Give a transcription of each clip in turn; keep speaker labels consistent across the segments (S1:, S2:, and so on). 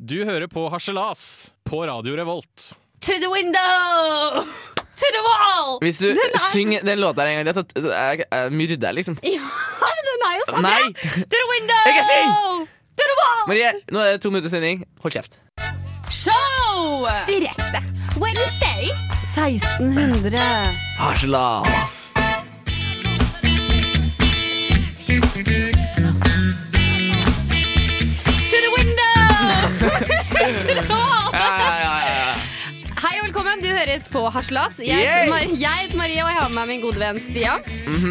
S1: Du hører på Harselas på Radio Revolt.
S2: To the window! To the wall!
S3: Hvis du synger den låta her en gang til, så- så er jeg- jeg myrder jeg, liksom.
S2: Ja, men den er jo sånn!
S3: Nei!
S2: ja. To the window!
S3: Jeg kan synge!
S2: To the wall!
S3: Marie, nå er det to minutter sending. Hold kjeft.
S2: Show!
S4: Direkte. Wednesday.
S2: 1600.
S3: Harselas.
S2: To the window! to the wall!
S3: Ja, ja, ja, ja.
S2: Hei og velkommen, du hører på Haslas. Jeg,
S3: Yay!
S2: heter
S3: Mhm.
S2: Mar- jeg heter Marie, og jeg har med meg min gode venn Stian.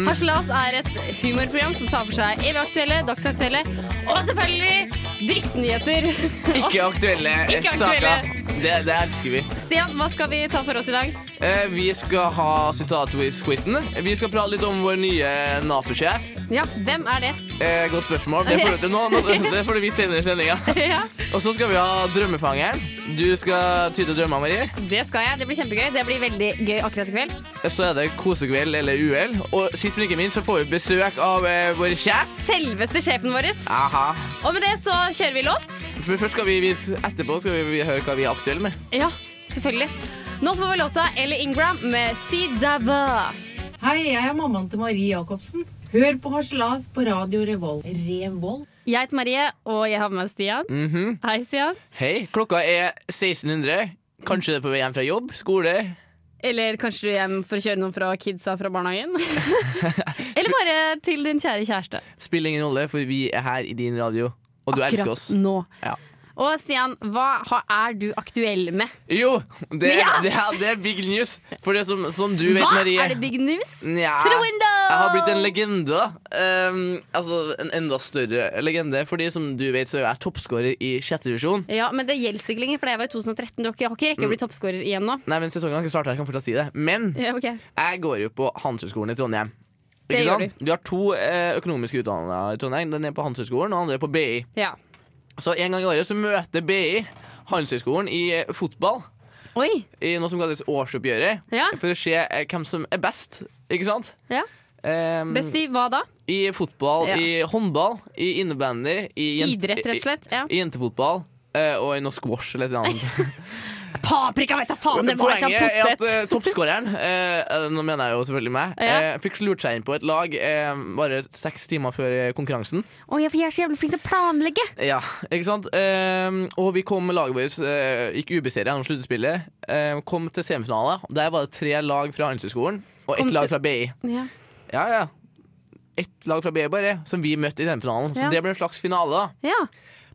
S2: Haslas er et humorprogram som tar for seg evig aktuelle, dagsaktuelle og selvfølgelig drittnyheter.
S3: Ikke aktuelle
S2: Ikke aktuelle.
S3: saker. Det, det elsker vi.
S2: Stian, hva skal vi ta for oss i dag?
S3: Eh, Vi skal ha sitatquiz-quizen. Vi skal prate litt om vår nye Nato-sjef.
S2: Ja, hvem er det?
S3: Eh, Godt spørsmål. Det får, du, nå, nå, det får du vite senere i sendinga.
S2: ja,
S3: Og så skal vi ha Drømmefangeren. Du skal tyde drømmer, Marie.
S2: det skal jeg. Det blir kjempegøy. Det blir veldig gøy akkurat i kveld.
S3: Og Så er det kosekveld eller uhell. Og sist, men ikke minst, så får vi besøk av eh, vår sjef.
S2: Selveste sjefen vår.
S3: Aha.
S2: Og med det så kjører vi låt.
S3: For først skal vi vise etterpå skal vi høre hva vi er aktuelle med.
S2: Ja, selvfølgelig. Nå får vi låta Ellie Ingram med Si Dava.
S5: Hei, jeg er mammaen til Marie Jacobsen. Hør på Harselas på radio Revolt. Revolt?
S2: Jeg heter Marie, og jeg har med meg Stian.
S3: Mhm.
S2: Hei, Stian.
S3: Hei, klokka er 1600. Kanskje det er på vei hjem fra jobb, skole,
S2: Eller kanskje du er hjem for å kjøre noen fra kidsa fra barnehagen? Eller bare til din kjære kjæreste.
S3: Spiller ingen rolle, for vi er her i din radio, og du elsker oss.
S2: nå.
S3: Ja.
S2: Og Stian, hva ha- er du aktuell med?
S3: Jo, det,
S2: Ja!
S3: det, er, det er big news. For det som, som du vet,
S2: hva?
S3: Marie
S2: Er det big news?
S3: Nja,
S2: To the window!
S3: Jeg har blitt en legende. da. Um, altså en enda større legende. Fordi som du vet, så er jeg toppskårer i sjette divisjon.
S2: Ja, men det gjelder ikke lenger, for jeg var i 2013. Du har ikke, jeg har ikke rekke å
S3: Mm.
S2: bli toppskårer igjen nå.
S3: Nei, men sesongen har ikke starta. Jeg kan fortsatt si det. Men
S2: Ja, ok.
S3: jeg går jo på Handelshøyskolen i Trondheim.
S2: Det gjør
S3: sant? Du har to eh, økonomiske utdannelser i Trondheim. Den ene på Handelshøyskolen, og den andre på BI.
S2: Ja.
S3: Så en gang i året så møter BI Handelshøyskolen i eh, fotball.
S2: Oi.
S3: i noe som kalles årsoppgjøret,
S2: Ja.
S3: for å se eh, hvem som er best. Ikke sant?
S2: Ja.
S3: Ehm,
S2: Best i hva da?
S3: I fotball,
S2: Ja.
S3: i håndball, i innebandy, i jen-
S2: Idrett, rett og slett. Ja.
S3: I, i jentefotball. eh, og i noe squash eller noe annet.
S2: Paprika, vet da faen! Det var ikke
S3: Poenget er
S2: en
S3: at
S2: potet!
S3: eh, toppskåreren, eh, eh, nå mener jeg jo selvfølgelig meg,
S2: Ja.
S3: eh, fikk lurt seg inn på et lag eh, bare seks timer før eh, konkurransen.
S2: Å, ja, for jeg er så jævlig flink til å planlegge!
S3: Ja, ikke sant? Ehm, og vi kom med laget vårt, eh, gikk ubeseiret gjennom sluttspillet. ehm, kom til semifinale. Der var det tre lag fra Handelshøyskolen og
S2: Kom
S3: ett
S2: til-
S3: lag fra BI.
S2: Ja.
S3: Ja, ja. Ett lag fra BI bare, som vi møtte i semifinalen. Så
S2: Ja.
S3: det ble en slags finale. da
S2: ja.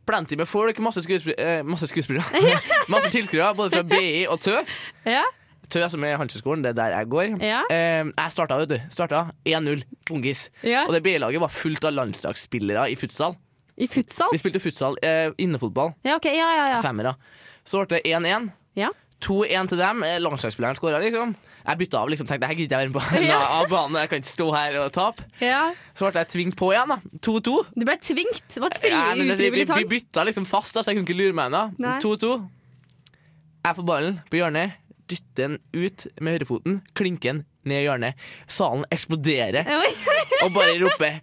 S3: Plenty med folk, masse, skuespil eh, masse skuespillere. masse tilskuere, både fra BI og Tø.
S2: ja.
S3: Tø som er Handelshøyskolen, det er der jeg går.
S2: Ja.
S3: Ehm, jeg starta, vet du. Starta 1-0, bongis.
S2: Ja.
S3: Og det BI-laget var fullt av landslagsspillere i futsal.
S2: I futsal?
S3: Vi spilte futsal, eh, innefotball.
S2: Ja, ok. Ja, ja, ja.
S3: Femmere. Så ble det 1-1.
S2: ja.
S3: 2-1 til dem. Eh, Landslagsspilleren skåra, liksom. Jeg bytta av, liksom. Tenkte jeg gidder jeg være med på
S2: Ja.
S3: Nei, av banen. Jeg kan ikke stå her og tape.
S2: ja.
S3: Så ble jeg tvingt på igjen, da. 2-2.
S2: Du ble tvingt. Det var
S3: Ja, men det- vi, vi,
S2: frivillig
S3: vi
S2: tvang.
S3: bytta liksom fast, da, så jeg kunne ikke lure meg ennå.
S2: Nei.
S3: 2-2. Jeg får ballen på hjørnet. Dytter den ut med høyrefoten. Klinker den ned i hjørnet. Salen eksploderer og bare roper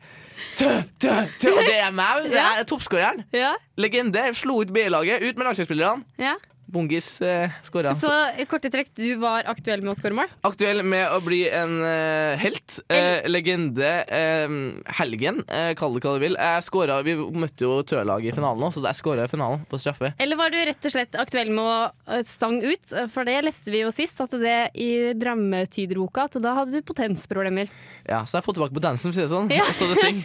S3: Tø, tø, tø. Og det er meg, det er toppskåreren.
S2: Ja,
S3: Legende. Slo ut B-laget, ut med landslagsspillerne.
S2: ja.
S3: Bongis eh, skåra.
S2: Så i korte trekk, du var aktuell med å skåre mål?
S3: Aktuell med å bli en eh, helt. eh, legende. eh, helgen, eh, kall det hva du vil. Jeg skåret, vi møtte jo Tølaget i finalen, også, så jeg skåra i finalen på straffe.
S2: Eller var du rett og slett aktuell med å eh, stang ut? For det leste vi jo sist, at det i drømmetyderboka, at da hadde du potensproblemer.
S3: Ja, Så jeg får tilbake på dansen, for å si det sånn.
S2: Ja.
S3: Og så det syng.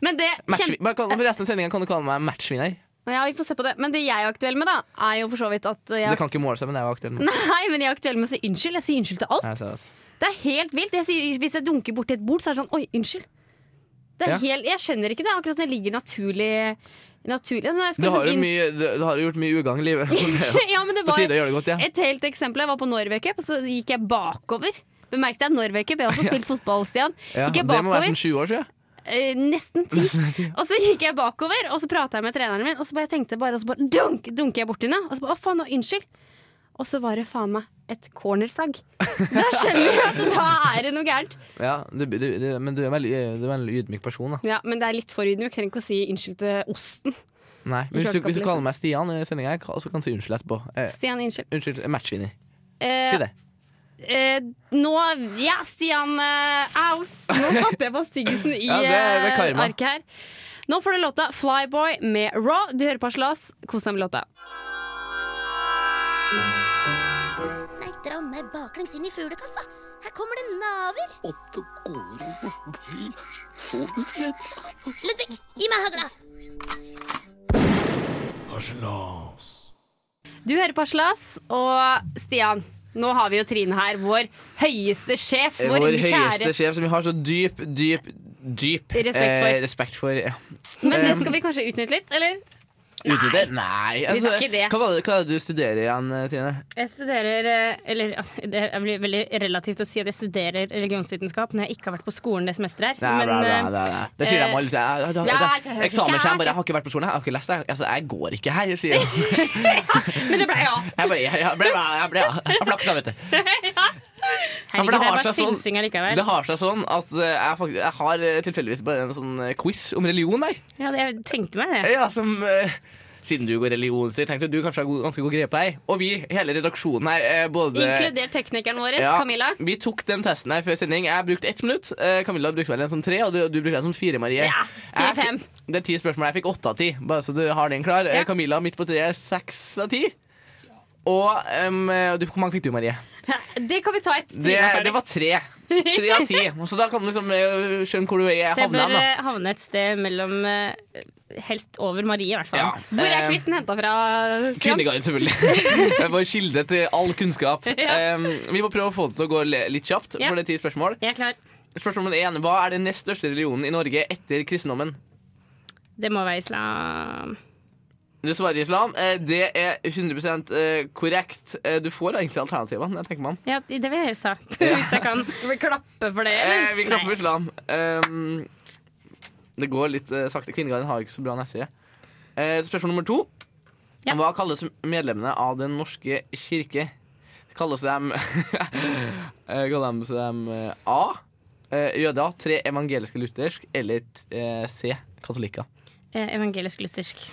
S2: Men det,
S3: Matchvi-
S2: kjem-
S3: Men kan- For resten av sendingen kan du kalle meg matchvinner.
S2: ja, vi får se på det. Men det jeg er aktuell med, da, er jo for så vidt at
S3: Det
S2: jeg
S3: kan ikke måle seg, men jeg var aktuell. nå.
S2: Nei, men jeg er aktuell med å si unnskyld. Jeg sier unnskyld til alt.
S3: Nei, seriøst.
S2: Det er helt vilt. Jeg sier, hvis jeg dunker borti et bord, så er det sånn Oi, unnskyld. Det er
S3: Ja.
S2: helt, jeg skjønner ikke det. Akkurat som det ligger naturlig, naturlig. Når jeg skal
S3: Du har jo
S2: liksom inn-
S3: mye, du, du har jo gjort mye ugagn i livet. så det er jo
S2: ja, men det
S3: På
S2: var
S3: tide å gjøre det godt, ja.
S2: Et helt eksempel. Jeg var på Norway Cup, og så gikk jeg bakover. Bemerk deg, Norway Cup. Jeg har også spilt fotball, Stian.
S3: Ja,
S2: gikk
S3: det
S2: jeg
S3: må være
S2: bakover,
S3: sånn sju år siden.
S2: eh, nesten ti. Og så gikk jeg bakover, og så prata jeg med treneren min, og så bare jeg tenkte bare, og så bare dunk, dunker jeg borti henne. Og så bare å faen, nå, unnskyld. Og så var det faen meg et cornerflagg. Da skjønner jeg at da er det noe gærent.
S3: Ja, du, du, du, men du er, veldig, du er en veldig ydmyk person. da
S2: Ja, men det er litt for ydmyk. Trenger ikke å si unnskyld til osten.
S3: Nei, men hvis du,
S2: liksom.
S3: hvis du kaller meg Stian i sendinga, så kan du si unnskyld etterpå. Eh,
S2: Stian, unnskyld.
S3: unnskyld, matchvinner.
S2: Eh,
S3: Si det.
S2: Eh, nå Ja, Stian eh, Au! Nå satte jeg på stiggelsen i
S3: Ja, det er- det er
S2: eh,
S3: karma.
S2: arket her. Nå får du låta 'Flyboy' med Raw. Du hører på Harselas. Kos deg med låta.
S4: Nei, dra meg baklengs inn i fuglekassa. Her kommer det naver. Ludvig, gi meg hagla.
S2: Du hører på Harselas, og Stian, nå har vi jo Trine her, vår høyeste sjef. Vår,
S3: Eh, Vår høyeste
S2: kjære
S3: sjef, som vi har så dyp, dyp, dyp
S2: Respekt for.
S3: eh, respekt for ja.
S2: Men det skal vi kanskje utnytte litt, eller?
S3: Utnytte? Nei. altså,
S2: Vi skal ikke det.
S3: Hva var det, hva var det du studerer igjen, eh, Trine?
S6: Jeg studerer eh, Eller altså, det er vel- veldig relativt å si at jeg studerer religionsvitenskap når jeg ikke har vært på skolen det semesteret
S3: Nei, nei,
S6: her.
S3: nei,
S6: Men eh,
S3: nei, nei. Det sier de alle. Jeg- jeg- jeg-
S2: Nei,
S3: jeg-
S2: jeg-
S3: Eksamensskjerm bare 'Jeg har ikke vært på skolen, jeg har ikke lest det'. Altså, jeg går ikke her, sier de.
S2: Men det ble ja!
S3: Jeg bare, jeg, jeg ble, jeg ble, jeg flaksa, vet du. for
S6: herregud,
S3: det
S6: det
S3: har
S6: er bare
S3: seg sånn-
S6: synsing allikevel.
S3: Det har seg sånn at eh, jeg, faktisk, jeg har eh, tilfeldigvis bare en sånn eh, quiz om religion, jeg.
S6: Ja, det, jeg tenkte meg det.
S3: Ja, som eh, Siden du går religionsstyr, tenkte jeg du kanskje har god, ganske god grep her. Og vi, hele redaksjonen her, eh, både
S2: Inkludert teknikeren vår,
S3: Ja,
S2: Camilla.
S3: Vi tok den testen her før sending. Jeg brukte ett minutt. Eh, Camilla brukte vel en som tre, og du, du brukte en som fire, Marie.
S2: Ja,
S3: Jeg
S2: fire-fem.
S3: fi- Det er ti spørsmål. Jeg fikk åtte av ti, bare så du har den klar. Eh, Camilla midt på treet, seks av ti. Og em, eh, du, hvor mange fikk du, Marie?
S2: Det kan vi ta et
S3: Det, det var tre. Tre av ti. Så da kan du liksom eh, skjønne hvor du er
S6: Så jeg
S3: havna.
S6: bør
S3: da.
S6: eh, havne et sted mellom eh, Helst over Marie, i hvert fall.
S3: Ja.
S2: Hvor er
S3: Eh,
S2: kvisten henta fra, Stian?
S3: Kvinneguiden, selvfølgelig. Det er Vår kilde til all kunnskap. Um, vi må prøve å få det til å gå le- litt kjapt,
S6: Ja.
S3: for det er ti spørsmål.
S6: Jeg er klar.
S3: Spørsmål nummer én. Hva er den nest største religionen i Norge etter kristendommen?
S6: Det må være islam.
S3: Du svarer islam. Eh, Det er 100 eh, korrekt. Eh, Du får egentlig alternativene. Jeg tenker meg om.
S6: Ja, det vil jeg helst ha. Hvis jeg kan.
S2: Skal vi klappe for det, eller?
S3: Eh, Vi knapper islam. Um, det går litt eh, sakte. Kvinneguiden har jo ikke så bra nettside. Eh, Spørsmål nummer to.
S6: Ja.
S3: Hva kalles medlemmene av Den norske kirke? Kalles dem Eh, Kalles dem eh, A. eh, Jøder. Tre evangeliske luthersk. Eller eh, C. Katolikker.
S6: Eh, Evangelisk-luthersk.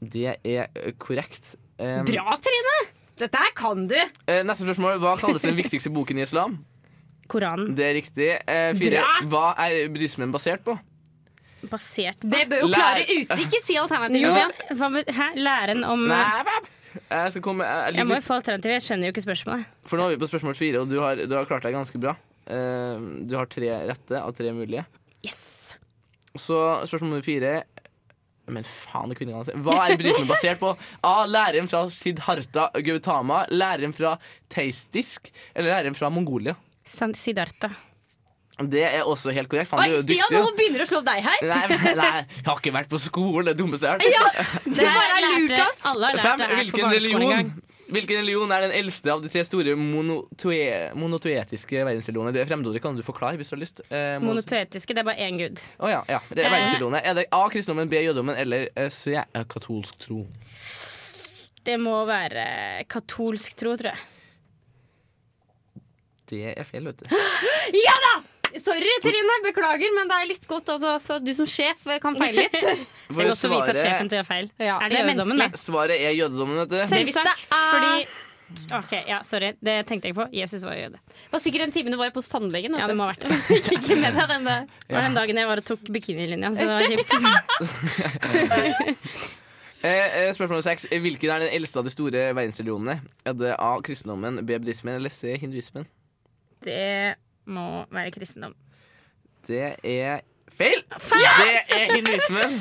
S3: Det er eh, korrekt. Um,
S2: Bra, Trine! Dette her kan du!
S3: eh, Neste spørsmål. Hva kalles den viktigste boken i islam?
S6: Koranen.
S3: Det er riktig. Eh, Fire.
S6: Bra!
S3: Hva er buddhismen basert på?
S6: Basert
S2: Det bør jo
S3: Lær-
S2: klare ute. Ikke si alternativet.
S6: Jo,
S2: Stian.
S6: hva med Hæ? Læren om
S3: Nei, Eh, bab. jeg skal komme jeg,
S6: Jeg
S3: jeg,
S6: må
S3: liker-
S6: jo få alternativet. Jeg skjønner jo ikke spørsmålet.
S3: For nå er vi på spørsmål fire, og du har, du har klart deg ganske bra. Eh, du har tre rette av tre mulige.
S6: Yes!
S3: Så spørsmål nummer fire Men faen, det er kvinnegans. Hva er buddhismen basert på? A. Læreren fra Siddharta Gautama. Læreren fra teistisk. Eller læreren fra Mongolia.
S6: San- Siddhartha.
S3: Det er også helt korrekt. Faen,
S2: Oi,
S3: du er jo
S2: Stian, nå
S3: dyktig. jo.
S2: begynner det å slå opp deg her.
S3: Nei, nei, jeg har ikke vært på skolen, det er dummeste jeg har hørt.
S2: Ja, du
S6: Det her
S2: bare har
S6: lærte-
S2: lurt oss.
S6: Alle har lært
S3: Fem,
S6: det her på
S3: hvilken
S6: barneskolen en gang.
S3: religion, hvilken religion er den eldste av de tre store monotoe, monotoetiske verdensreligionene? Det fremmedordet kan du forklare hvis du har lyst. Eh, mono-
S6: Monotoetiske, det er bare én gud.
S3: Å ja, ja.
S6: Eh.
S3: Det er verdensreligionene. Er det A. kristendommen, B. jødedommen eller eh, C. eh, katolsk tro?
S6: Det må være eh, katolsk tro, tror jeg.
S3: Det er feil, vet du.
S2: Ja da! Sorry, Trine. Beklager, men det er litt godt. Altså, så du som sjef kan feile litt.
S6: Det er godt å vise at sjefen
S3: svaret,
S6: tar feil.
S2: Ja,
S6: er det,
S2: det er
S6: jødedommen, da?
S3: svaret er jødedommen, vet du.
S2: Selv-
S6: Selvsagt,
S2: Det er-
S6: fordi OK, ja, sorry. Det tenkte jeg ikke på. Jesus var jøde.
S2: Det var sikkert en time du var på hos tannlegen. vet
S6: Ja, det
S2: du.
S6: må ha vært det.
S2: Fikk ikke med deg den der.
S6: Det var den dagen jeg var og tok bikinilinja, så det var kjipt.
S3: Eh, eh, spørsmål nummer seks. Eh, Hvilken er den eldste av de store verdensreligionene? Er det A. kristendommen, B. buddhismen eller C. hinduismen?
S6: Det må være kristendom.
S3: Det er feil! Det er hinduismen.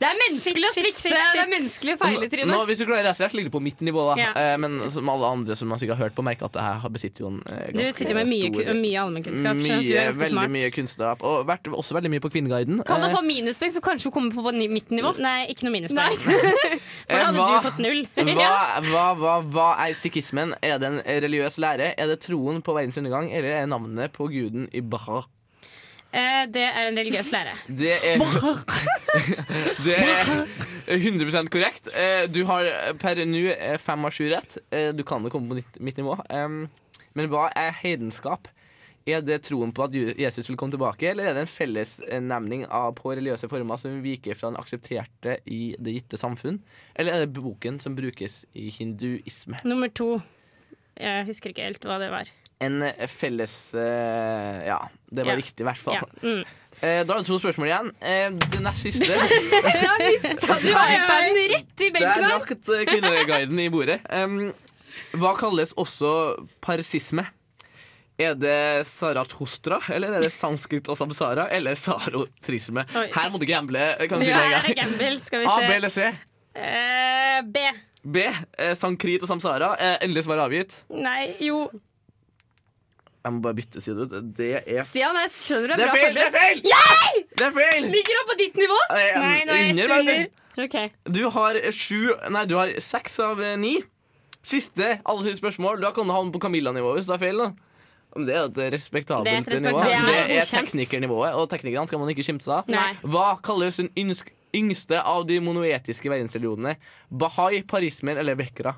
S2: Det er menneskelig å
S6: Shit, shit,
S2: svikte.
S6: shit,
S2: Det
S6: shit.
S2: er menneskelig å feile,
S3: Nå,
S2: Trine.
S3: hvis du klarer resten her, så ligger du på mitt nivå. da
S6: Ja.
S3: eh, Men som alle andre som har sikkert har hørt på, merker at jeg har- besitter jo en eh,
S6: Du
S3: ganske
S6: sitter med mye,
S3: stor
S6: ku- mye allmennkunnskap, så du er
S3: mye,
S6: ganske
S3: veldig
S6: smart.
S3: mye kunnskap. Og vært også veldig mye på Kvinneguiden.
S2: Kan du
S3: Eh,
S2: få minuspoeng, så kanskje hun kommer på ni- mitt nivå?
S6: Nei, ikke noe
S2: Nei.
S6: minuspoeng. For da
S3: eh,
S6: hadde
S3: hva-
S6: du fått null.
S3: Hva, hva, hva, hva er sikhismen? Er det en religiøs lære? Er det troen på verdens undergang? Eller er navnet på guden i Bahar?
S6: Eh, Det er en religiøs lære.
S3: Det er Det er 100 korrekt. Eh, Du har per nå eh, fem av sju rett. Eh, Du kan jo komme på ditt- mitt nivå. Em, Men hva er heidenskap Er det troen på at Ju- Jesus vil komme tilbake, eller er det en fellesnemning av- på religiøse former som viker fra den aksepterte i det gitte samfunn? Eller er det boken som brukes i hinduisme?
S6: Nummer to. Jeg husker ikke helt hva det var.
S3: En eh, felles eh, Ja, det var
S6: Ja.
S3: riktig, i hvert fall.
S6: Ja. Mm.
S3: Eh, da er det to spørsmål igjen. Eh, det nest siste.
S2: Du har iPaden rett i
S3: Der
S2: benken her!
S3: rakk eh, kvinneguiden i bordet. Em, Um, hva kalles også parsisme? Er det Sarathostra, eller er det sanskrit og samsara, eller sarotrisme?
S6: Oi.
S3: Her må du gamble. eh, kan du si
S6: Ja,
S3: med en
S6: er det
S3: gang.
S6: gamble? Skal vi
S3: A, B
S6: se.
S3: eller C?
S6: Eh, B.
S3: B. Eh, sankrit og samsara. Eh, endelig svar avgitt.
S6: Nei, jo.
S3: Jeg må bare bytte side ut. Det er f...
S2: Stian, jeg skjønner du
S3: Det
S2: er bra
S3: er feil! Det er
S2: forberedt.
S3: feil! Det er feil!
S2: Ligger han på ditt nivå?
S3: Eh,
S6: Nei, nå er jeg
S3: under, vet du.
S6: tuller. Ok.
S3: Du har sju Nei, du har seks av eh, ni. Siste alle sine spørsmål. Da kan du havne på Camilla-nivået hvis det er feil. da Men det er jo et respektabelt
S6: Det er et
S3: nivå.
S6: respektabelt-
S3: Det
S2: Det er
S3: er,
S2: godkjent.
S3: teknikernivået, og teknikerne skal man ikke skimte av.
S6: Nei.
S3: Hva kalles den ynsk- yngste av de monoetiske verdensreligionene? Bahai, parismer eller vekra?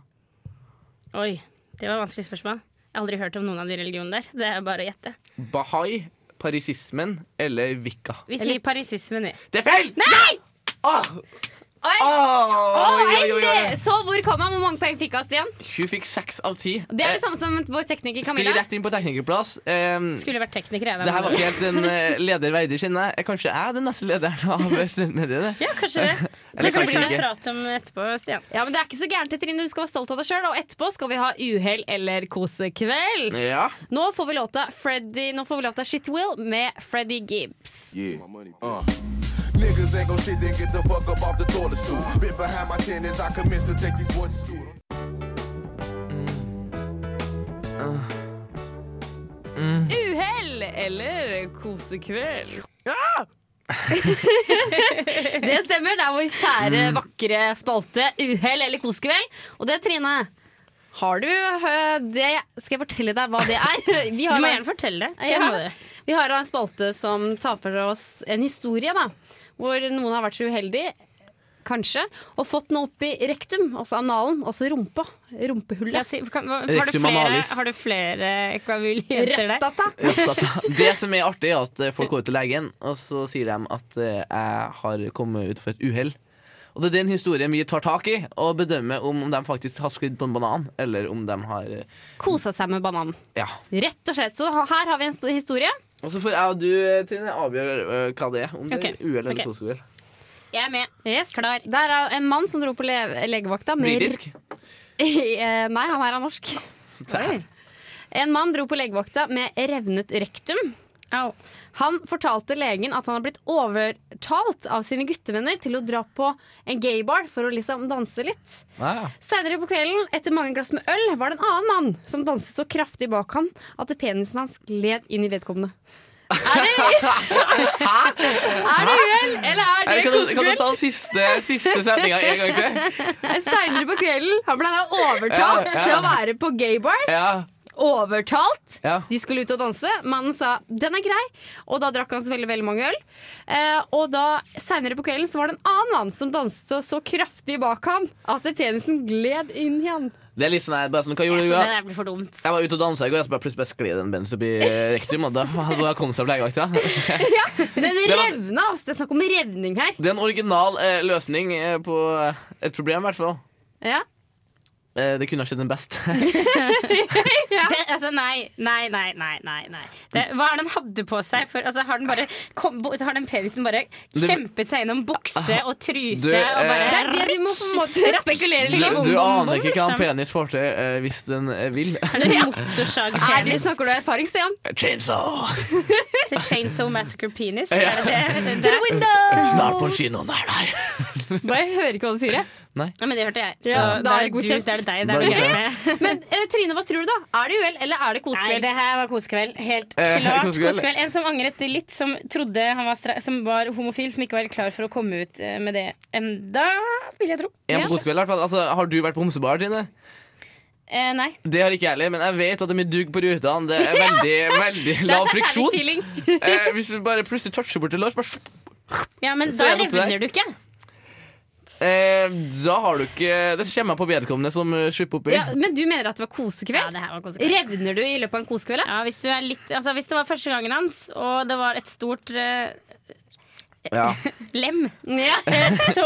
S6: Oi, det var et vanskelig spørsmål. Jeg har aldri hørt om noen av de religionene der. Det er bare å gjette.
S3: Bahai, parisismen eller vikka?
S6: Vi sier parisismen, vi.
S3: Det er feil! Ah! Nei! Åh!
S2: Oi.
S3: Åh,
S2: Å,
S3: oi, oi, oi, oi.
S2: endelig! Så hvor kom han? Hvor mange poeng fikk han, Stian?
S3: Ah! Hun fikk seks av ti.
S2: Det er det
S3: Eh,
S2: samme som vår tekniker
S3: Skli
S2: Camilla.
S3: rett inn på teknikerplass. Eh,
S6: Skulle vært tekniker, jeg. da,
S3: Det her var
S6: men-
S3: ikke helt en eh, leder verdig skinne. Eh, Kanskje jeg er den neste lederen av studentmediene.
S6: Ja, kanskje det.
S3: Eller
S6: Det
S3: kanskje
S6: blir det
S3: ikke.
S6: prat om etterpå, Stian.
S2: Ja, men Det er ikke så gærent, Trine. Du skal være stolt av deg sjøl. Og etterpå skal vi ha uhell eller kosekveld.
S3: Ja.
S2: Nå får vi låta Freddy, nå får vi låta Shit Will med Freddy Gibbs.
S7: Yeah. Uh. Niggas ain't gon' shit, then get the fuck up off the toilet stool. Bit behind my chin as I commence to take these boys to school.
S2: Uhell eller kosekveld. Ah! det stemmer. Det er vår kjære, vakre spalte Uhell eller kosekveld. Og det, Trine, har du eh, det Skal jeg fortelle deg hva det er? Vi
S6: Du
S2: har
S6: må
S2: da-
S6: gjerne fortelle det. det.
S2: Ja.
S6: må du.
S2: Vi har en spalte som tar for oss en historie, da. Hvor noen har vært så uheldig, kanskje, og fått noe opp i rektum, altså analen, altså rumpa.
S6: Ja,
S2: Rumpehullet.
S6: si, kan, hva, har, du
S3: Rectum
S6: flere,
S3: analis.
S6: har du flere kvabuljenter der?
S2: Rattata.
S3: Det som er artig, er at eh, folk går ut til legen, og så sier de at eh, jeg har kommet ut for et uhell. Og det er den historien vi tar tak i, og bedømmer om de faktisk har sklidd på en banan, eller om de har eh,
S2: Kosa seg med bananen.
S3: Ja.
S2: Rett og slett. Så her har vi en stor historie.
S3: Og så får jeg og du, eh, Trine, avgjøre eh, hva det er. Om det
S6: Ok.
S3: er uhell eller
S6: Ok.
S3: kosehell.
S6: Jeg er med.
S2: Yes.
S6: Klar.
S2: Der er en mann som dro på le legevakta med
S3: Britisk.
S2: Eh, Nei, han er av norsk. En mann dro på legevakta med revnet rektum.
S6: Au.
S2: Han fortalte legen at han har blitt overtalt av sine guttevenner til å dra på en gaybar for å liksom danse litt.
S3: Ah, Ja.
S2: Seinere på kvelden, etter mange glass med øl, var det en annen mann som danset så kraftig bak han at penisen hans gled inn i vedkommende. Er det, er det uhell, eller
S3: Eller
S2: er det
S3: Kan du, kan du
S2: kosekveld?
S3: ta den siste, siste sendinga en gang til?
S2: Seinere på kvelden Han ble da overtalt
S3: Ja, ja.
S2: til å være på gaybar.
S3: Ja.
S2: Overtalt.
S3: ja.
S2: De skulle ut og danse. Mannen sa 'den er grei', og da drakk han så veldig, veldig mange øl. Eh, og da seinere på kvelden så var det en annen mann som danset så, så kraftig bak han at penisen gled inn i han.
S3: Det er litt sånn, her, bare sånn Hva
S6: Ja,
S3: gjorde
S6: så
S3: du?
S6: det
S3: da?
S6: der blir for dumt.
S3: Jeg var ute og dansa i går, og så bare plutselig bare skled en bens opp eh, i rektum. Og da da kom det seg på legevakta.
S2: Den
S3: var-
S2: revna, altså. Det er snakk om revning her.
S3: Det er en original eh, løsning eh, på et problem, i hvert fall.
S2: Ja.
S3: Eh, det kunne ha skjedd en best.
S6: Det, altså, nei, nei, nei, nei. nei, nei. Det, hva er det han hadde på seg? For, altså, har, den bare, kom, bo- har den penisen bare kjempet seg gjennom bukse og truse?
S3: Du, eh,
S6: og bare,
S2: Det er det vi må på en måte spekulere
S3: Du,
S2: litt
S3: du aner ikke hva en
S6: liksom.
S3: penis får til eh, hvis den eh, vil.
S6: Er det en motorsagpenis?
S2: Snakker du av erfaring, Stian?
S3: Chainsaw!
S6: Til Chainsaw Massacre Penis?
S3: Ja.
S6: Er det, det, det,
S3: Snart på en kino nær deg.
S2: Bare jeg hører ikke hva du sier. jeg.
S6: Ja, men det hørte jeg. Så
S2: Ja,
S6: det
S2: da er
S6: er
S2: det
S6: du,
S2: godkjent.
S6: det er det deg.
S3: Da
S6: Det
S3: er
S6: er
S3: det
S6: det meg.
S2: Men eh, Trine, hva tror du, da? Er det uhell, eller er det
S6: Nei,
S2: kosekveld?
S6: det her var kosekveld. Helt
S3: Eh,
S6: klart
S3: kosekveld.
S6: kosekveld. En som angret litt, som trodde han var, stra som var homofil, som ikke var klar for å komme ut eh, med det enda, vil jeg tro.
S3: En
S6: Ja.
S3: på kosekveld, i hvert fall. Altså, har du vært på homsebar, Trine?
S6: Eh, nei.
S3: Det har ikke jeg heller, men jeg vet at det er mye dugg på rutene. Det er veldig, veldig lav friksjon.
S2: feeling.
S3: Eh, hvis du bare plutselig toucher bort et lår, så bare
S6: Ja, men
S3: Så
S6: da
S3: er det opp til
S6: revner du ikke.
S3: Eh, da har du ikke Det kommer jeg på vedkommende som eh, slipper oppi.
S2: Ja, men du mener at det var
S6: Ja,
S2: kosekveld?
S6: det her var konsekvent.
S2: Revner du i løpet av en kosekveld? da?
S6: Ja, hvis, du er litt, altså, hvis det var første gangen hans, og det var et stort eh,
S3: Ja.
S6: lem,
S2: Ja.
S6: eh, så,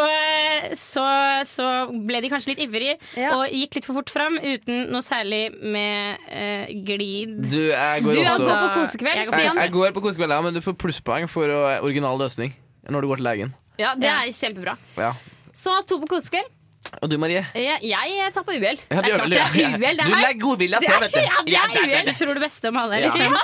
S6: så, så ble de kanskje litt ivrige
S2: Ja.
S6: og gikk litt for fort fram uten noe særlig med eh, glid.
S3: Du, jeg går
S2: Du har
S3: også
S2: gått på
S6: Jeg
S2: kosekveld,
S6: går på
S3: jeg,
S2: Stian.
S3: jeg går på kosekveld, ja, men du får plusspoeng for eh, original løsning når du går til legen.
S2: Ja, det er kjempebra.
S3: Ja.
S2: Så to på kosekveld.
S3: Og du, Marie?
S2: Jeg, jeg tar på uhell.
S3: Ja,
S2: det er
S3: du-
S2: klart det er uhell, det
S3: Du
S2: her.
S3: legger godvilja til, vet du.
S2: Ja, det er
S3: der-
S2: uhell.
S6: Du tror det beste om alle,
S3: Ja.
S6: liksom?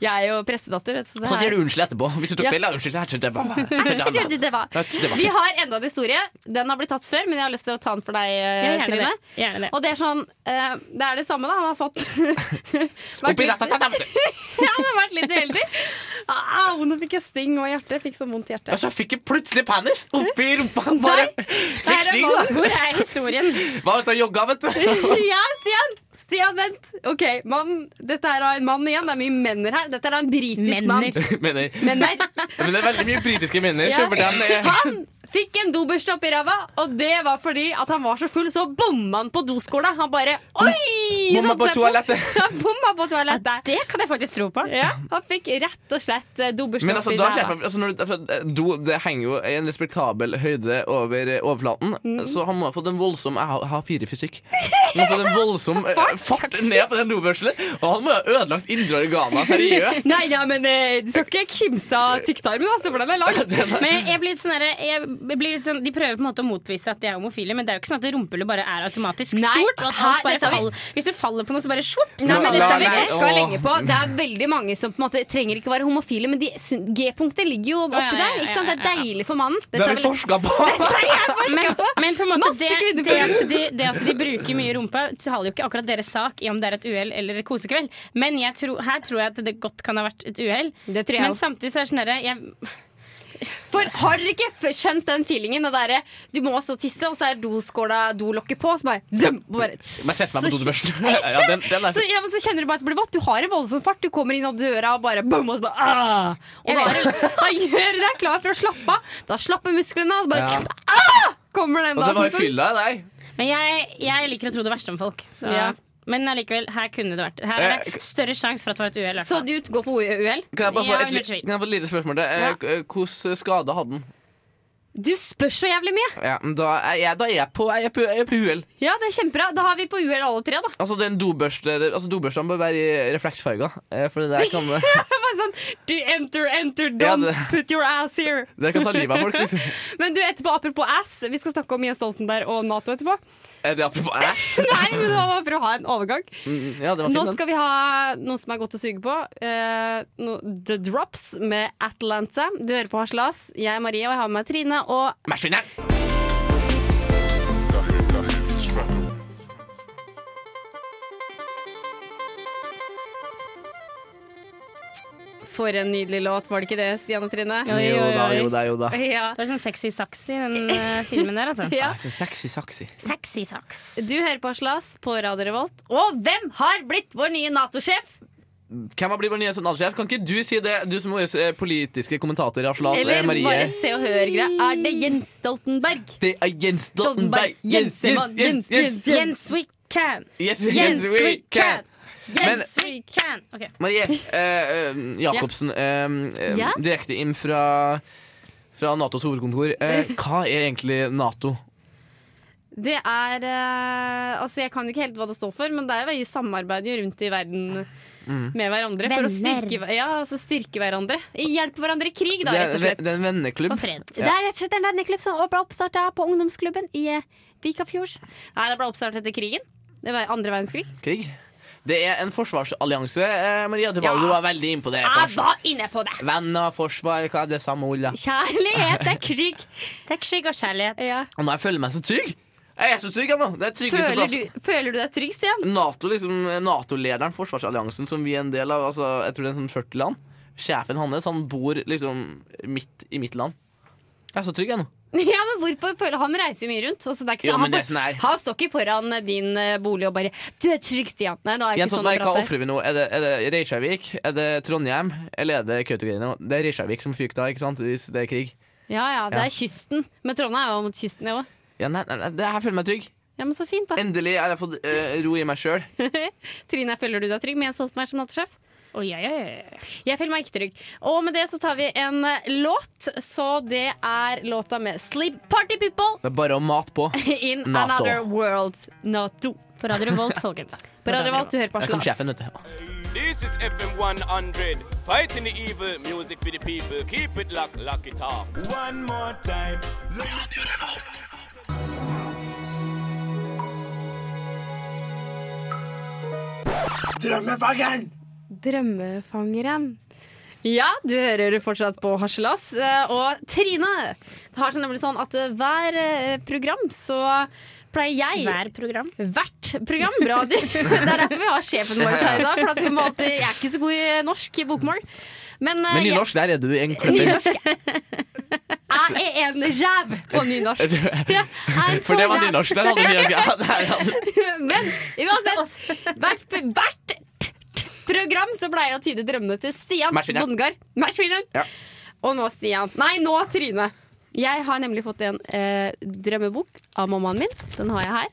S2: Jeg er jo prestedatter. vet du, så det
S3: Så
S2: her-
S3: sier du unnskyld etterpå. Hvis du tok
S2: Ja.
S3: feil, ja, unnskyld. Jeg trodde det var
S2: Jeg trodde det var. Vi har enda en historie. Den har blitt tatt før, men jeg har lyst til å ta den for deg,
S6: Ja,
S2: eh,
S6: gjerne
S2: Trine.
S6: det. Gjerne det.
S2: Og det er sånn eh, Det er det samme, da. Han har fått vært
S3: Oppi
S2: litt-
S3: ratatatam.
S2: Ja, han har vært litt uheldig. Au, nå fikk jeg sting og hjertet. Jeg fikk så vondt i
S3: Og
S2: hjertet.
S3: så fikk jeg plutselig panis oppi rumpa. Han bare fikk
S2: der er
S3: sting,
S2: mannen.
S3: da.
S6: Hvor er historien?
S3: Var ute og jogga, vet du.
S2: Ja, Stian! Stian, vent. Ok, mann. Dette er av en mann igjen. Det er mye menner her. Dette er av en britisk mann.
S6: Menner.
S3: Mener.
S2: Menner.
S3: Men det er veldig mye britiske minner. eh,
S2: Ja.
S3: så for den er-
S2: Han fikk en dobursdag opp i ræva, og det var fordi at han var så full, så bomma han på doskåla. Han bare Oi!
S3: Bomma
S2: satte
S3: på
S2: seg
S3: toalettet.
S2: Han bomma på toalettet.
S6: Det kan jeg faktisk tro på.
S2: Ja, han fikk rett og slett eh, dobursdag
S3: Men altså,
S2: opp i
S3: da
S2: ræva.
S3: skjer det- altså, når, du- altså, do det henger jo i en respektabel høyde over eh, overflaten, så han må ha fått en voldsom Jeg har- har fire i fysikk. Han har fått en voldsom eh, fart ned på den dobørselen, og han må ha ødelagt indre organer. Seriøst.
S2: Nei, ja, men eh, du skal ikke kimse av tykktarmen, altså, for den er lang.
S6: Men jeg blir litt sånn der, jeg blir litt sånn, De prøver på en måte å motbevise at de er homofile, men det er jo ikke sånn at rumpehullet bare er automatisk
S2: Nei,
S6: stort. Og at alt
S2: her-
S6: bare
S2: dette er vi-
S6: faller. Hvis du faller på noe, så bare svopp.
S2: Nei,
S6: så
S2: men
S6: faller
S2: dette har vi
S6: det
S3: Nei,
S6: ned.
S3: nei,
S2: forska
S3: åh.
S2: lenge på. Det er veldig mange som på en måte trenger ikke være homofile, men de syn- G-punktet ligger jo
S6: ja,
S2: oppi
S6: ja,
S2: der. ikke sant? Det
S6: ja,
S2: er
S6: ja, ja.
S2: deilig for mannen.
S3: Det
S2: Dette
S3: har
S2: er
S3: vi
S2: vel-
S3: forska på!
S6: Men, men på en måte
S2: Masse
S6: det,
S2: kvinner
S6: det, at de, det at de bruker mye rumpe, taler jo ikke akkurat deres sak i om det er et uhell eller kosekveld. Men jeg tror- her tror jeg at det godt kan ha vært et uhell.
S2: Det tror jeg
S6: Men
S2: også.
S6: samtidig så er det sånn derre jeg-
S2: For har dere ikke f- skjønt den feelingen? Og der, du må stå og tisse, og så er doskåla dolokket på, og så bare, zøm, og bare
S3: Men jeg setter meg på
S2: så-
S3: dobørsten. Ja, den, den er
S2: så, ja, men så kjenner du bare at det blir vått. Du har en voldsom fart. Du kommer inn av døra og bare boom, og så bare ah! Og da, er det- da gjør du deg klar for å slappe av. Da slapper musklene av, og så bare
S3: Ja.
S2: ah! kommer den.
S3: Og det
S2: da,
S3: var i
S2: sånn-
S3: fylla, nei.
S6: Men jeg, jeg liker å tro det verste om folk. Så.
S2: Ja.
S6: Men allikevel, her kunne det vært Her er det større sjanse for at det var et uhell. i hvert
S2: Så
S6: fall.
S2: du går for uhell?
S3: Kan jeg bare få
S6: Ja,
S3: et, li-
S6: under tvil.
S3: kan jeg få et lite spørsmål? til? Eh,
S2: Ja.
S3: k- Hvordan skade hadde han?
S2: Du spør så jævlig mye.
S3: Ja, men da er jeg, da er jeg på, jeg er på, jeg er på uhell.
S2: Ja, det er kjempebra. Da har vi på uhell alle tre, da.
S3: Altså, den dobørste, altså, dobørsten bør være i refleksfarger. eh, For det der kan, det
S2: Det var sånn, du enter, enter,
S3: Ja,
S2: don't
S3: det-
S2: put your ass here.
S3: kan ta livet av folk. Liksom.
S2: Men du, etterpå, apropos ass, vi skal snakke om Jens Stoltenberg og Nato etterpå.
S3: Er det apropos ass?
S2: Nei, men det var bare for å ha en overgang.
S3: Mm, Ja, det var
S2: Nå
S3: fint, den.
S2: skal vi ha noe som er godt å suge på. Eh, no, The Drops med Atlanta. Du hører på Harselas. Jeg er Marie, og jeg har med meg Trine. Og
S3: Matchvinner!
S2: for en nydelig låt, var det ikke det, Stian og Trine?
S6: Oi, oi,
S3: Jo da,
S6: oi.
S3: jo da, jo da.
S2: Ja.
S6: Det var sånn sexy saks i den eh, filmen der, altså.
S2: Ja.
S3: Altså, sexy, sexy.
S6: Sexy saks.
S2: Du hører på Harselas på Radio Revolt. Og hvem har blitt vår nye Nato-sjef?
S3: Hvem har blitt vår nye sentralsjef? Kan ikke du si det, du som er vår eh, politiske kommentator? Aslas,
S2: Eller
S3: Altså, Marie.
S2: bare se og hør-greia. Er det Jens Stoltenberg?
S3: Det er Jens Stoltenberg! Jens, Jens, Jens! Jens,
S6: Jens, we can!
S3: Yes,
S6: Jens,
S3: yes,
S6: we can!
S3: Men-
S6: Jens, we can! Ok.
S3: Marie eh, eh, Jacobsen, eh, eh,
S2: Ja?
S3: direkte inn fra, fra Natos hovedkontor. Eh, hva er egentlig Nato?
S2: Det er eh, Altså, jeg kan ikke helt hva det står for, men det er jo vi samarbeider jo rundt i verden
S3: Mm.
S2: med hverandre. For å
S6: Venner.
S2: styrke, ja, altså styrke hverandre. Hjelpe hverandre i krig, da,
S3: Det
S2: rett
S3: er,
S2: og slett.
S3: det er en venneklubb.
S6: Og fred.
S2: Det er rett og slett en venneklubb som ble oppstarta på ungdomsklubben i eh, Vikafjords. Nei, det ble oppstartet etter krigen. Det var andre verdenskrig.
S3: Krig. Det er en forsvarsallianse, eh, Maria. Det var,
S2: Ja.
S3: Du var veldig inne på det.
S2: Jeg
S3: Forsvar.
S2: var Ah, inne på det!
S3: Venner, forsvar, hva er det samme ordet?
S2: Kjærlighet er krig.
S6: Tekskygg og kjærlighet.
S2: Ja.
S3: Og nå jeg føler meg så trygg! Jeg er så trygg, jeg nå! Det er tryggeste
S2: Føler,
S3: plass.
S2: du, føler du deg trygg, Stian?
S3: Nato, liksom, Nato-lederen, forsvarsalliansen, som vi er en del av, altså, jeg tror det er en sånn 40 land. Sjefen hans han bor liksom midt i mitt land. Jeg er så trygg, jeg nå.
S2: Ja, men hvorfor føler Han reiser jo mye rundt. og så det er ikke
S3: Jo,
S2: så,
S3: men
S2: han,
S3: det som er-
S2: han står ikke foran eh, din eh, bolig og bare 'Du er trygg, Stian'. Nei, nå er
S3: Jens
S2: ikke sånn
S3: Stoltenberg,
S2: det
S3: hva
S2: prater.
S3: ofrer vi nå? Er det, er det Reykjavik? Er det Trondheim? Eller er det Kautokeino? Det er Reykjavik som fyker da, ikke sant? Hvis det er krig.
S2: Ja, ja, det
S3: Ja.
S2: er kysten. Men Trondheim er jo mot kysten, det òg.
S3: Ja, nei, nei, nei, det her føler meg trygg.
S2: Ja, men så fint, da.
S3: Endelig har jeg fått eh, ro i meg sjøl.
S2: Trine, føler du deg trygg med Jens Stoltenberg som nattesjef?
S6: Eh, Oi, oi, oi.
S2: Jeg føler meg ikke trygg. Og med det så tar vi en eh, låt. Så det er låta med Sleep Party People
S3: Det er bare å mate på.
S2: in
S3: Nato.
S2: Another World Nato.
S6: På Radio Revolt, folkens.
S2: På Radio Revolt, du hører på
S3: Der kom
S2: Aslas.
S3: sjefen, vet du.
S8: This is FM 100, fighting the evil, music for the people. Keep it locked, lock it off. One more time.
S2: Drømmefangeren. Ja, du hører fortsatt på Harselas. eh, Og Trine, det har seg nemlig sånn at eh, hver eh, program så pleier jeg
S6: Hver program.
S2: Hvert program. Bra, du. Det er derfor vi har sjefen vår her i dag. For at hun må alltid, jeg er ikke så god i norsk i bokmål. Men, eh,
S3: Men
S2: jeg-
S3: nynorsk, der er du en kløpper.
S2: Nynorsk Jeg er en ræv på nynorsk. Jeg er en så
S3: For det var
S2: ræv.
S3: nynorsk. Der hadde vi ja, altså. der hadde-
S2: Men uansett, hvert, hvert t- t- program så pleier jeg å tyde drømmene til Stian
S3: Maskinen.
S2: Bondegard. Maskinen.
S3: Ja.
S2: Og nå Stian. Nei, nå Trine. Jeg har nemlig fått en eh, drømmebok av mammaen min. Den har jeg her.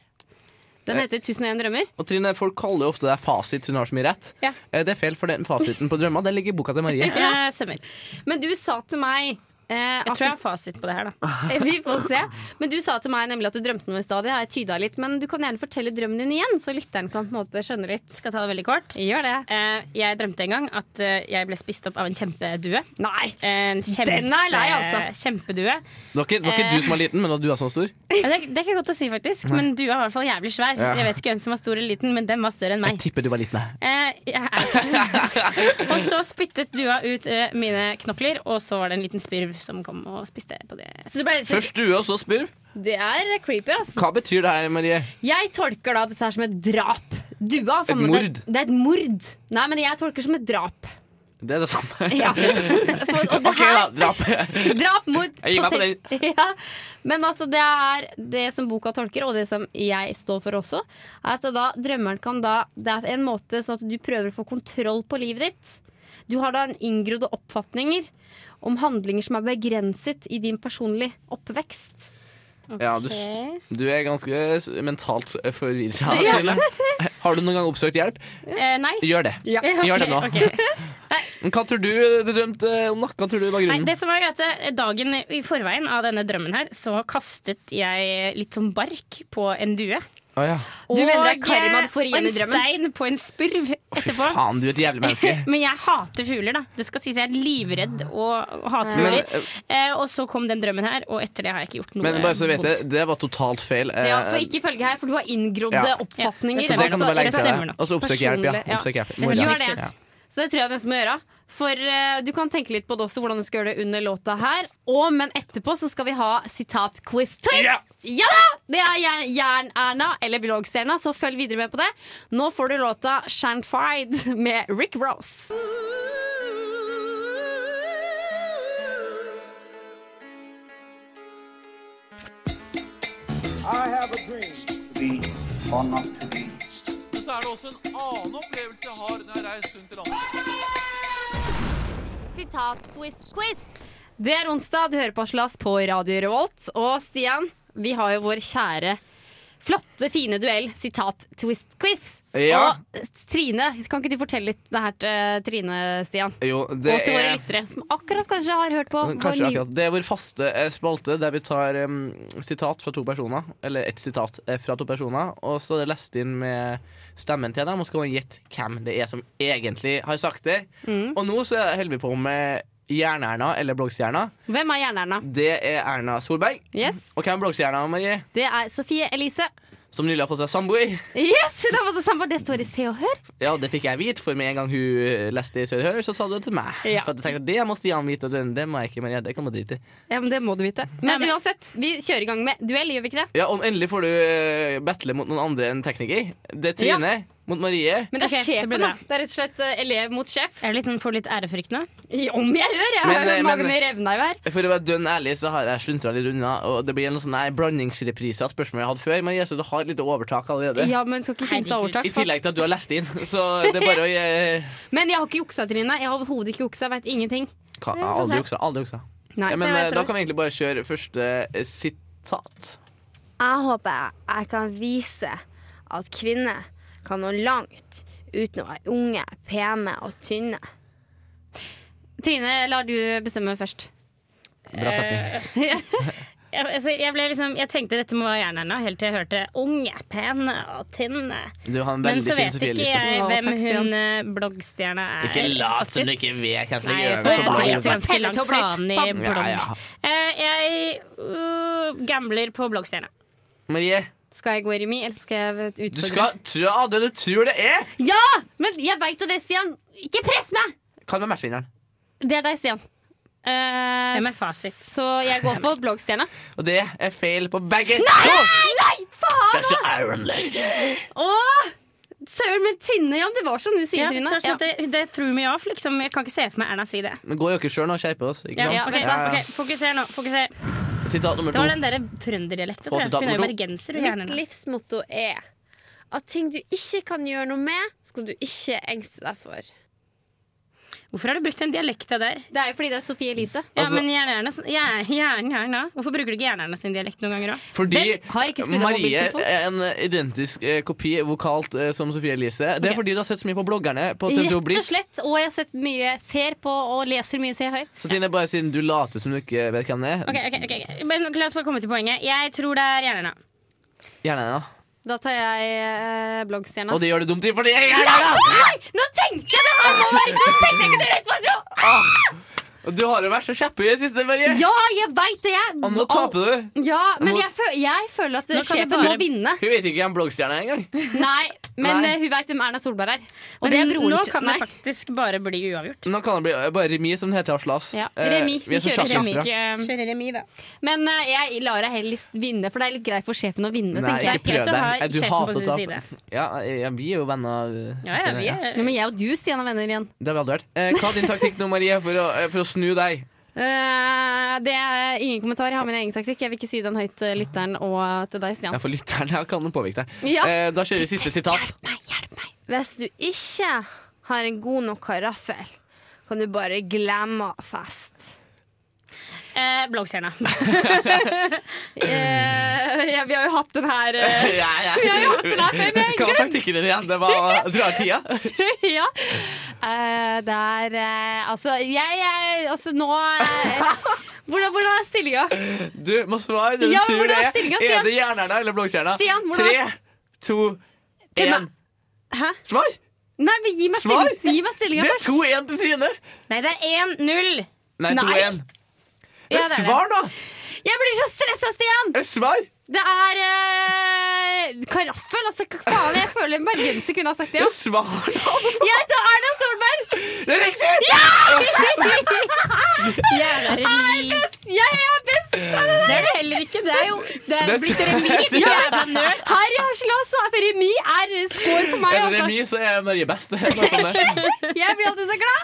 S2: Den
S3: Eh.
S2: heter 1001 drømmer.
S3: Og Trine, folk kaller jo ofte deg fasit, siden du har så mye rett.
S6: Ja.
S3: Eh, Det er feil, for den fasiten på drømmer, den ligger i boka til Marie.
S6: Ja, stemmer.
S2: Men du sa til meg eh,
S6: Jeg
S2: at
S6: tror jeg har fasit på det her, da.
S2: du, Vi får se. Men du sa til meg nemlig at du drømte noe i stad. Det har jeg tyda litt. Men du kan gjerne fortelle drømmen din igjen, så lytteren kan på en måte skjønne litt.
S6: Skal ta det veldig kort.
S2: Gjør det.
S6: Eh, jeg drømte en gang at eh, jeg ble spist opp av en kjempedue.
S2: Nei.
S6: En kjempe,
S2: Den er lei, altså.
S6: Kjempedue.
S3: Det var ikke, det var ikke du som var liten, men det var du var sånn stor.
S6: Ja, det, det er ikke godt å si, faktisk, men dua var i hvert fall jævlig svær.
S3: Ja.
S6: Jeg vet ikke hvem som var stor eller liten, men den var større enn
S3: Jeg
S6: meg.
S3: tipper du var liten, jeg.
S6: Eh, jeg er ikke så- og så spyttet dua ut eh, mine knokler, og så var det en liten spirv som kom og spiste på det.
S2: Så det, ble,
S3: Først due, og så spurv.
S2: det er creepy, ass.
S3: Hva betyr det her, Marie?
S2: Jeg tolker da dette her som et drap. Dua, for
S3: Et
S2: meg,
S3: mord.
S2: Det, det er et mord. Nei, men jeg tolker det som et drap.
S3: Det er det samme.
S2: Ja. For, og det
S3: OK, da.
S2: her,
S3: Drap.
S2: drap, mord
S3: Jeg gir meg på
S2: potet- Ja. Men altså, det er det som boka tolker, og det som jeg står for også, er at da, drømmeren kan da Det er en måte sånn at du prøver å få kontroll på livet ditt. Du har da en inngrodde oppfatninger om handlinger som er begrenset i din personlige oppvekst.
S3: Ja, du,
S6: Ok.
S3: du er ganske s- mentalt forvirra.
S2: Ja.
S3: Trine. Har du noen gang oppsøkt hjelp?
S6: Eh, nei.
S3: Gjør det. Gjør det nå.
S6: ok.
S3: Men Hva tror du du drømte om, da? Hva tror du var
S6: Nei,
S3: grunnen?
S6: det som var greit, eh, Dagen i forveien av denne drømmen her, så kastet jeg litt sånn bark på en due.
S3: Å, ja.
S2: Du mener det er
S6: Og,
S2: karma du får
S6: eh,
S2: igjen i
S6: Og en stein på en spurv
S3: Fy
S6: etterpå.
S3: faen, du er et jævlig menneske.
S6: Men jeg hater fugler, da. Det skal sies jeg er livredd og og hater
S3: Men,
S6: fugler. Eh, og så kom den drømmen her, og etter det har jeg ikke gjort noe
S3: Men bare så du vet det,
S6: vondt.
S3: det var totalt feil.
S2: Ja,
S3: Eh,
S2: for ikke følge her, for du har inngrodde
S3: Ja.
S2: oppfatninger.
S6: Ja,
S3: så det kan du
S2: Altså,
S3: bare legge
S6: det
S3: til
S6: stemmer
S3: deg.
S6: nok.
S3: Og så oppsøk hjelp, ja.
S2: Personlig, ja.
S3: Oppsøk hjelp.
S6: er
S3: Mora.
S6: helt
S2: Gjør det.
S6: riktig.
S2: Så det tror jeg nesten må gjøre. For eh, du kan tenke litt på det også, hvordan du skal gjøre det under låta her. Og, men etterpå så skal vi ha sitat-quiz-twist. Ja. da! Det er Jern- Jern-Erna eller Biolog-Serna, så følg videre med på det. Nå får du låta Shant Fried med Rick Ross. Sitat-twist-quiz. Det er onsdag, du hører på Aslas på Radio Revolt. Og Stian, vi har jo vår kjære flotte, fine duell, sitat-twist-quiz.
S3: Ja.
S2: Og Trine, kan ikke du fortelle litt det her til Trine, Stian?
S3: Jo, det
S2: Og til våre
S3: er
S2: lyttere, som akkurat kanskje har hørt på vår
S3: Kanskje
S2: nye
S3: akkurat. Det er vår faste eh, spalte der vi tar em, sitat fra to personer, eller ett sitat eh, fra to personer, og så er det lest inn med stemmen til dem, og så skal man gjette hvem det er som egentlig har sagt det.
S2: Mm.
S3: Og nå så holder vi på med Jern-Erna, eller Bloggstjerna.
S2: Hvem er Jern-Erna?
S3: Det er Erna Solberg.
S2: Yes,
S3: Og hvem er Bloggstjerna, Marie?
S2: det er Sofie Elise.
S3: Som nylig har fått seg samboer.
S2: Yes, det var det samme! Det står i Se og Hør.
S3: Ja, det fikk jeg vite, for med en gang hun eh, leste i Sør Hør, så sa du det til meg.
S2: Ja.
S3: For at jeg tenkte, det må Stian vite, og det, det må jeg ikke, Marie. Det kan man drite i.
S2: Ja, men Det må du vite. Men uansett, vi kjører i gang med duell, gjør vi ikke det?
S3: Ja, om endelig får du eh, battle mot noen andre enn tekniker. Det er Trine mot Marie.
S6: Men
S2: Det er
S6: ok, det blir
S2: sjefen, da.
S6: bra.
S2: Det er rett og slett eh, elev mot sjef.
S6: Er det litt sånn for litt ærefrykt nå?
S2: Om jeg gjør! Jeg
S3: Men,
S2: har
S3: eh,
S2: jo magen
S3: men-
S2: i revna i hver.
S3: For å være dønn ærlig så har jeg sluntra litt unna, og det blir en sånn nei, blandingsreprise av spørsmål jeg hadde før. Marie, så du har et lite overtak allerede.
S2: Ja, men skal ikke kimse av
S6: Herregud.
S2: overtak.
S3: I tillegg til at du har lest inn, så det er bare å eh,
S2: Men jeg har ikke juksa, Trine. Jeg har overhodet ikke juksa. Jeg veit ingenting.
S3: ka- Aldri juksa. Aldri juksa.
S2: Nei,
S3: Ja,
S2: så
S3: men
S2: jeg
S3: eh,
S2: vet
S3: da
S2: det.
S3: kan vi egentlig bare kjøre første eh, sitat.
S2: Jeg håper jeg kan vise at kvinner kan nå langt uten å være unge, pene og tynne.
S6: Trine, lar du bestemme først.
S3: Bra setning.
S2: Eh,
S6: Jeg, altså, jeg, ble liksom, jeg tenkte dette må være jernhanda, helt til jeg hørte unge, pene og tynne.
S3: Du har en
S6: Men
S3: veldig
S6: så
S3: fin
S6: vet
S3: Sofie
S6: ikke
S3: Elise.
S6: jeg
S2: Å,
S6: hvem
S2: takk, Stian.
S6: hun eh, bloggstjerna er.
S3: Ikke lat som du
S6: faktisk.
S3: ikke vet hva
S6: Nei, jeg
S3: jeg
S6: tror
S3: skal gjøre.
S6: jeg vet ganske langt
S2: Teletubbies.
S6: faen i
S2: Bam.
S6: blogg.
S3: Ja, ja.
S6: Eh, jeg øh, gambler på bloggstjerna.
S3: Marie,
S2: Skal jeg gå i remi, eller skal jeg
S3: du
S2: utfordre?
S3: skal tro det du tror det er.
S2: Ja! Men jeg veit jo det, Stian. Ikke press meg!
S3: Hva med matchvinneren?
S2: Det er deg, Stian. Eh,
S6: Hvem er fasit?
S2: Så jeg går for bloggstjerna.
S3: Og det er feil på begge. Nei!
S2: Nei, faen!
S3: Der står Iron Lady.
S2: Åh! Søren, men tynne, ja. Det var som du sier,
S6: Ja,
S2: Trine.
S6: det, er
S2: Ja.
S6: sånn at det, det tror vi av. Liksom. Jeg kan ikke se for meg Erna si det.
S3: Men gå i dere sjøl nå og skjerpe oss. Ikke
S6: Ja,
S3: sant?
S2: Ja,
S6: ok,
S3: ja, ja.
S6: ok, Fokuser nå. Fokuser.
S3: Sitat nummer
S6: Det
S3: to.
S6: var den der trønderdialekta.
S3: Få
S6: tror jeg.
S3: sitat
S6: Hun er jo
S3: nummer to.
S6: bergenser. hun
S2: Mitt
S6: hjernen.
S2: livsmotto er at ting du ikke kan gjøre noe med, skal du ikke engste deg for.
S6: Hvorfor har du brukt den dialekta der?
S2: Det er jo fordi det er Sofie Elise.
S6: Ja,
S3: Altså-
S6: men hjernen, hjernen, hjernen, hjernen. Hvorfor bruker du ikke hjernen sin dialekt noen ganger òg?
S3: Fordi
S2: Hvem har ikke skrudd av
S3: Marie
S2: mobiltelefonen?
S3: er en identisk eh, kopi vokalt eh, som Sofie Elise. Det er
S6: Ok.
S3: fordi du har sett så mye på bloggerne. På
S2: Rett
S3: Tømte
S2: og
S3: Oblis.
S2: slett. Og jeg har sett mye, ser på og leser mye Se og Hør.
S3: Så Trine, bare siden du later som du ikke vet hvem det er,
S6: Ok, ok, ok, ok. Men la oss bare komme til poenget. Jeg tror det er hjernen.
S3: gjerne da.
S2: Da tar jeg eh, bloggstjerna.
S3: Og det gjør det dumt, fordi jeg er her, da!
S2: Nei, nå tenkte jeg det her må være Du tenkte ikke det rett på tro!
S3: Og du har jo vært så kjapp i det siste, Marie.
S2: Ja, jeg veit det, jeg.
S3: Og nå taper du.
S2: Ja, men
S3: Nå-
S2: jeg, føl jeg føler at
S6: Nå kan
S2: sjefen
S6: du
S2: må
S6: bare-
S2: vinne.
S3: Hun vet ikke hvem bloggstjerna er engang.
S2: Nei, men
S3: Nei.
S2: eh, hun veit hvem Erna Solberg er. Og det
S6: Men
S2: er broren
S6: nå
S2: til-
S6: kan det
S2: Nei.
S6: faktisk bare bli uavgjort.
S3: Nå kan det bli eh, bare remis, som det heter i Aslas.
S2: Ja,
S3: Eh,
S2: remi. Vi
S3: er så
S2: kjører
S3: sjakkesprø.
S2: remi. Ikke-
S6: Kjører remis, da.
S2: Men eh, jeg lar deg heller vinne, for det er litt greit for sjefen å vinne.
S3: Nei,
S2: tenker jeg.
S3: ikke
S6: Det
S3: prøv
S6: er greit
S3: deg.
S6: å ha
S3: Eh, Du
S6: sjefen på
S3: hater
S6: sin
S3: å
S6: side.
S3: tape. Ja, eh, ja, vi er jo venner. eh,
S6: Ja, ja,
S3: Trine,
S6: vi
S3: ja.
S6: er
S2: Ja, men jeg og du, Stian, er venner igjen.
S3: Det har vi aldri vært. Eh, Hva er din taktikk nå, Marie, for å, eh, for å snu deg?
S2: Eh, det er ingen kommentar. Jeg har min egen taktikk. Jeg vil ikke si den høyt til lytteren og til deg, Stian.
S3: Ja, for lytteren her kan den påvirke deg.
S2: Ja.
S3: Eh, da kjører vi siste sitat.
S2: Nei, hjelp meg. Hvis du ikke har en god nok karaffel, kan du bare glemme fest.
S6: Eh, Bloggstjerna.
S2: Eh, ja, vi har jo hatt den her eh,
S3: Ja, ja.
S2: Vi har jo hatt den her før, men
S3: Hva var taktikken din igjen? Det var å dra ut tida.
S2: ja. Eh, det er eh, Altså, jeg er Altså, nå eh, Hvordan, hvordan er stillinga?
S3: Du må svare det du
S2: Ja, men
S3: tror det
S2: hvordan
S3: er.
S2: er stillingen,
S3: Er
S2: Stian?
S3: det jernhjerna eller bloggstjerna?
S2: Stian, hvordan-
S3: Tre, to,
S2: Til
S3: én.
S2: Hæ?
S3: Svar!
S2: Nei, men gi meg,
S3: Svar!
S2: stilling, gi meg
S3: Det
S2: stillinga
S3: er
S2: først.
S3: 2-1 til Trine.
S6: Nei, det er 1-0.
S3: Nei,
S2: Nei.
S3: 2-1.
S6: Ja,
S3: Men
S6: det er det.
S3: Svar, da!
S2: Jeg blir så stressa, Stian!
S3: Eh, Svar!
S2: Det er eh, karaffel. Altså, hva faen? Jeg føler en bergenser kunne ha sagt det.
S3: Eh,
S2: ja.
S3: Svar, da!
S2: Jeg tar Erna Solberg!
S3: Det er riktig!
S6: Jævla remis.
S2: Jeg er best!
S6: Det er det heller ikke. Det er jo det er
S3: Det-
S6: blitt remis.
S2: Ja.
S6: Jævla nerd.
S2: Her i Harselas så er remis er score for meg.
S3: Er det
S2: Altså.
S3: remis, så er Marie best. Det er noe sånt der.
S2: Jeg blir alltid så glad.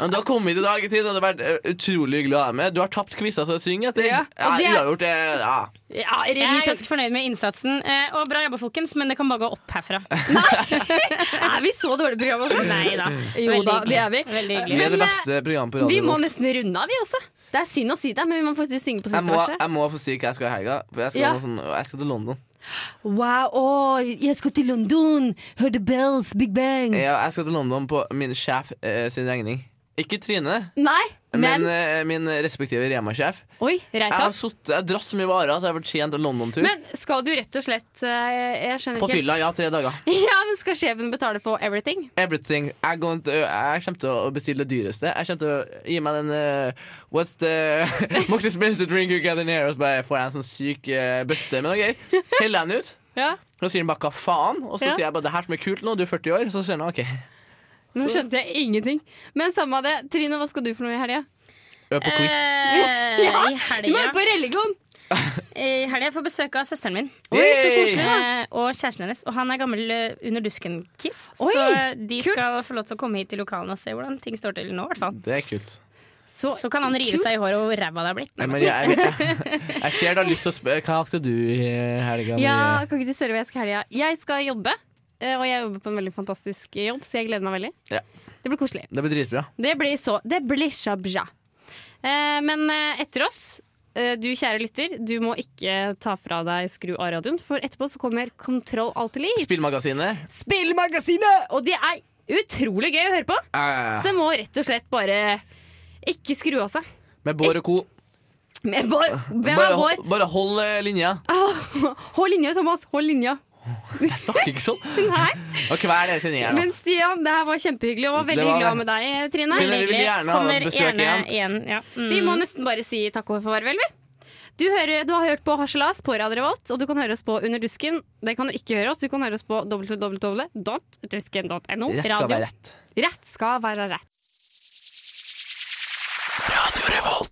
S3: Men du har kommet i dag, Trine. Det har vært eh, utrolig hyggelig å være med. Du har tapt quiza, så syng etter.
S2: Ja,
S3: Ja,
S2: og det er-
S3: uavgjort, det- ja.
S2: Ja,
S6: Jeg er
S2: remis
S6: ganske fornøyd med innsatsen. Eh, og Bra jobba, folkens, men det kan bare gå opp herfra.
S2: Er vi så dårlige program også?
S6: Nei da.
S2: Jo da,
S6: hyggelig.
S2: det er vi.
S6: Veldig
S3: Vi
S6: hyggelig.
S3: er det
S2: Men, eh,
S3: beste programmet på
S2: Vi
S3: radioen.
S2: må nesten runde av, vi også. Det er synd å si det, men vi må faktisk synge på
S3: jeg
S2: siste
S3: må,
S2: verset.
S3: jeg må få si hva jeg skal i helga. For jeg skal,
S2: Ja.
S3: noe sånn, jeg skal til London.
S2: Wow, å, jeg skal til London! Heard the bells, big bang!
S3: Ja, jeg skal til London på min sjef eh, sin regning. Ikke Trine,
S2: Nei,
S3: men,
S2: men
S3: eh, min respektive Rema-sjef.
S2: Oi,
S3: Jeg har
S2: Reitan.
S3: suttet- jeg har dratt så mye varer at jeg har fortjent en London-tur.
S2: Men skal du rett og slett eh, Jeg skjønner
S3: På
S2: ikke helt.
S3: fylla, ja. Tre dager.
S2: Ja, men Skal sjefen betale for everything?
S3: Everything. Jeg, going to, jeg kommer til å bestille det dyreste. Jeg kommer til å gi meg den eh, What's the most expensive drink you get in here? Og så bare får jeg en sånn syk eh, bøtte med noe gøy. Heller jeg den ut.
S2: Ja,
S3: Så sier han bare hva faen, og så
S2: Ja.
S3: sier jeg bare det her som er kult nå, du er 40 år. Så sier han OK.
S2: Nå skjønte jeg ingenting. Men samme av det. Trine, hva skal du for noe i helga?
S3: Øv på quiz.
S6: Eh, I
S2: Du må jo
S6: helga
S2: på religion!
S6: I helga får jeg besøk av søsteren min
S2: Oi, så
S3: Yay!
S2: koselig, da.
S6: eh, og kjæresten hennes. Og han er gammel eh, under dusken-kiss,
S2: Oi,
S6: så de
S2: kult.
S6: skal få lov til å komme hit til lokalene og se hvordan ting står til nå. i hvert fall
S3: Det er kult.
S6: Så kan han rive
S2: kult.
S6: seg i håret og hvor ræva det har blitt.
S3: Nei, men jeg, jeg, jeg, jeg ser du har lyst til å spørre Hva skal du i eh? helga?
S2: Ja,
S3: Marie?
S2: kan ikke du spørre hva jeg skal i helga? Jeg skal jobbe. eh, Og jeg jobber på en veldig fantastisk jobb, så jeg gleder meg veldig.
S3: Ja.
S2: Det blir koselig.
S3: Det blir dritbra.
S2: Det blir så Det blir så bra. Eh, Men eh, etter oss eh, du kjære lytter, du må ikke ta fra deg skru av radioen, for etterpå så kommer Kontroll Alt Elite.
S3: Spillmagasinet.
S2: Spillmagasinet! Og det er utrolig gøy å høre på.
S3: Eh,
S2: Så det må rett og slett bare ikke skru av seg.
S3: med Bård og co.
S2: Men Bård, hvem
S3: Bare,
S2: er Bård?
S3: hold- bare hold eh, linja.
S2: Hold linja, Thomas. Hold linja.
S3: Jeg snakker ikke sånn. Og hver deres sending her nå.
S2: Men Stian, det her var kjempehyggelig, og var
S3: Det
S2: veldig
S3: var-
S2: hyggelig å ha med deg, Trine.
S3: Trine, vi vil gjerne ha
S6: Kommer
S3: besøk
S6: gjerne igjen. ja. Mm.
S2: Vi
S3: Mhm.
S2: må nesten bare si takk og farvel, vi. Du, hører, du har hørt på Harselas på Radio Revolt, og du kan høre oss på Under dusken. Det kan du ikke høre oss. Du kan høre oss på www.dusken.no.
S3: Rett skal
S2: Radio.
S3: være rett.
S2: Rett skal være rett.
S3: Radio Revolt.